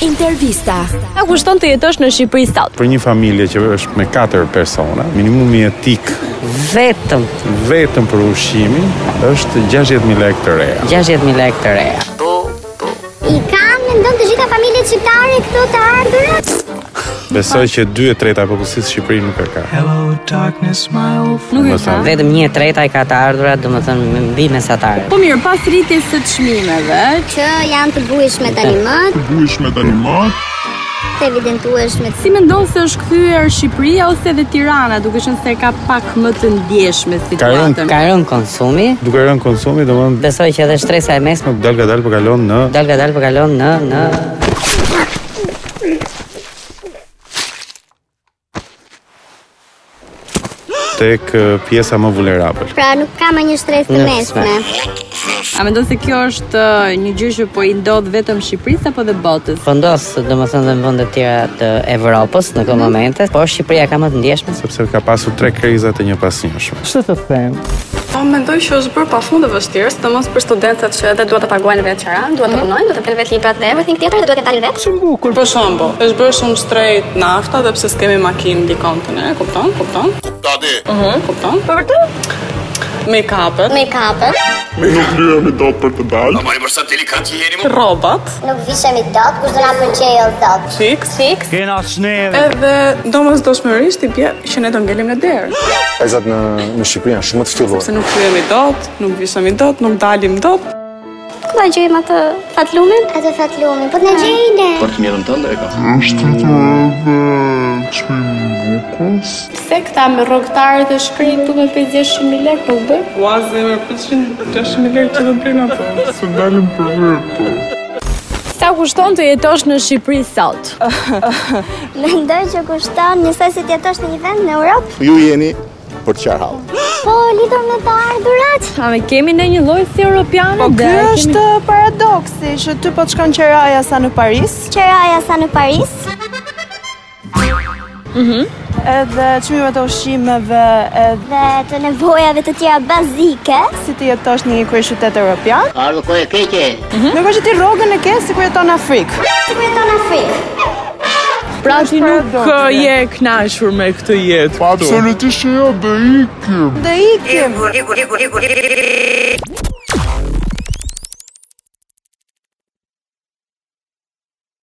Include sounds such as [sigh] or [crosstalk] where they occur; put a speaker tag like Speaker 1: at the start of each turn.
Speaker 1: Intervista.
Speaker 2: Sa kushton të jetosh në Shqipëri sot?
Speaker 3: Për një familje që është me 4 persona, minimumi etik
Speaker 4: vetëm
Speaker 3: vetëm për ushqimin është 60.000 lekë të reja.
Speaker 4: 60.000 lekë të reja.
Speaker 5: I kam mendon të gjitha familjet shqiptare këto të ardhurat?
Speaker 3: Besoj që 2 e treta e popullsisë Shqipëri nuk e ka.
Speaker 2: Nuk
Speaker 3: Më
Speaker 2: e ka.
Speaker 3: tha.
Speaker 4: Vetëm 1/3 i ka të ardhurat, domethënë me mbi mesatare.
Speaker 2: Po mirë, pas rritjes së çmimeve,
Speaker 5: Që janë të buishme tani më. Të buishme tani më. Të evidentueshme.
Speaker 2: si mendon se është kthyer Shqipëria ose edhe Tirana, duke qenë se ka pak më të ndjeshme situatën?
Speaker 4: Ka rënë konsumi,
Speaker 3: Duke rënë konsumi, domthonë
Speaker 4: besoj që edhe shtresa e mesme
Speaker 3: dal nga dal po kalon në
Speaker 4: dal nga dal po kalon në në
Speaker 3: tek eh, pjesa më vulnerabël.
Speaker 5: Pra nuk ka më një stres të
Speaker 4: Nuk
Speaker 5: mesme.
Speaker 2: A mendon se kjo është ë, një gjë që po i ndodh vetëm Shqipërisë apo dhe botës?
Speaker 4: po ndos domethënë dhe në vende të tjera të Evropës në këto momente, po Shqipëria ka më të ndjeshme.
Speaker 3: sepse ka pasur tre kriza të njëpasnjëshme.
Speaker 6: Po mendoj që është bërë pafund e vështirë, sidomos për studentët që edhe duhet të paguajnë vetë qaran, duhet
Speaker 7: Mm,
Speaker 6: të punojnë, duhet të bëjnë vetë librat dhe everything tjetër, dhe duhet të dalin vetë.
Speaker 7: Kur për shembull, është bërë shumë shtrejt nafta dhe pse s'kemi makinë dikon të ne, kupton? Kupton? Kuptati. Mhm, kupton? Po vërtet? Make-upet,
Speaker 5: Make-upet.
Speaker 7: rrobat,
Speaker 5: Nuk vishemi dot, kush do na pëlqejë dot.
Speaker 7: fix, fix. Kena sneve. Edhe domosdoshmërisht i bie që ne do ngelim në derë,
Speaker 8: Vajzat në në Shqipëri janë shumë të
Speaker 7: se
Speaker 8: ftyllur.
Speaker 7: nuk kryemi dot, nuk vishemi dot, nuk dalim dot.
Speaker 6: Ku ta gjejmë atë fatlumin? Ah.
Speaker 5: Atë fat lumi, po të na gjejë ne.
Speaker 6: Pse këta me rrogtarë dhe shkrin tu me 500.000 lekë nuk bën?
Speaker 7: Ua, zemër, po 500 lekë që do bëjnë ato.
Speaker 2: Sa kushton të jetosh në Shqipëri sot?
Speaker 5: Mendoj që kushton njësoj si të jetosh në një vend në Europë.
Speaker 8: Ju jeni për të qarë halë.
Speaker 5: [gasps] Po lidhur me të ardhurat.
Speaker 2: A ne kemi në një lloj si europianë
Speaker 9: Po ky
Speaker 2: dhe
Speaker 9: është paradoksi që ty po të shkon qeraja sa në Paris,
Speaker 5: Qeraja sa në Paris.
Speaker 9: edhe çmimet e ushqimeve, edhe
Speaker 5: Dhe të nevojave të tjera bazike.
Speaker 9: si të jetosh në një kryeqytet evropian.
Speaker 4: Ardhë ku e keqe.
Speaker 9: Nuk është që ti rrogën e ke sikur jeton në Afrikë.
Speaker 5: Si ku jeton në Afrikë?
Speaker 2: pra ti nuk
Speaker 9: paradoksi.
Speaker 2: ë, je e kënaqur me këtë jetë.
Speaker 8: Absolutisht që jo, bëj ikim.
Speaker 9: Dhe ikim.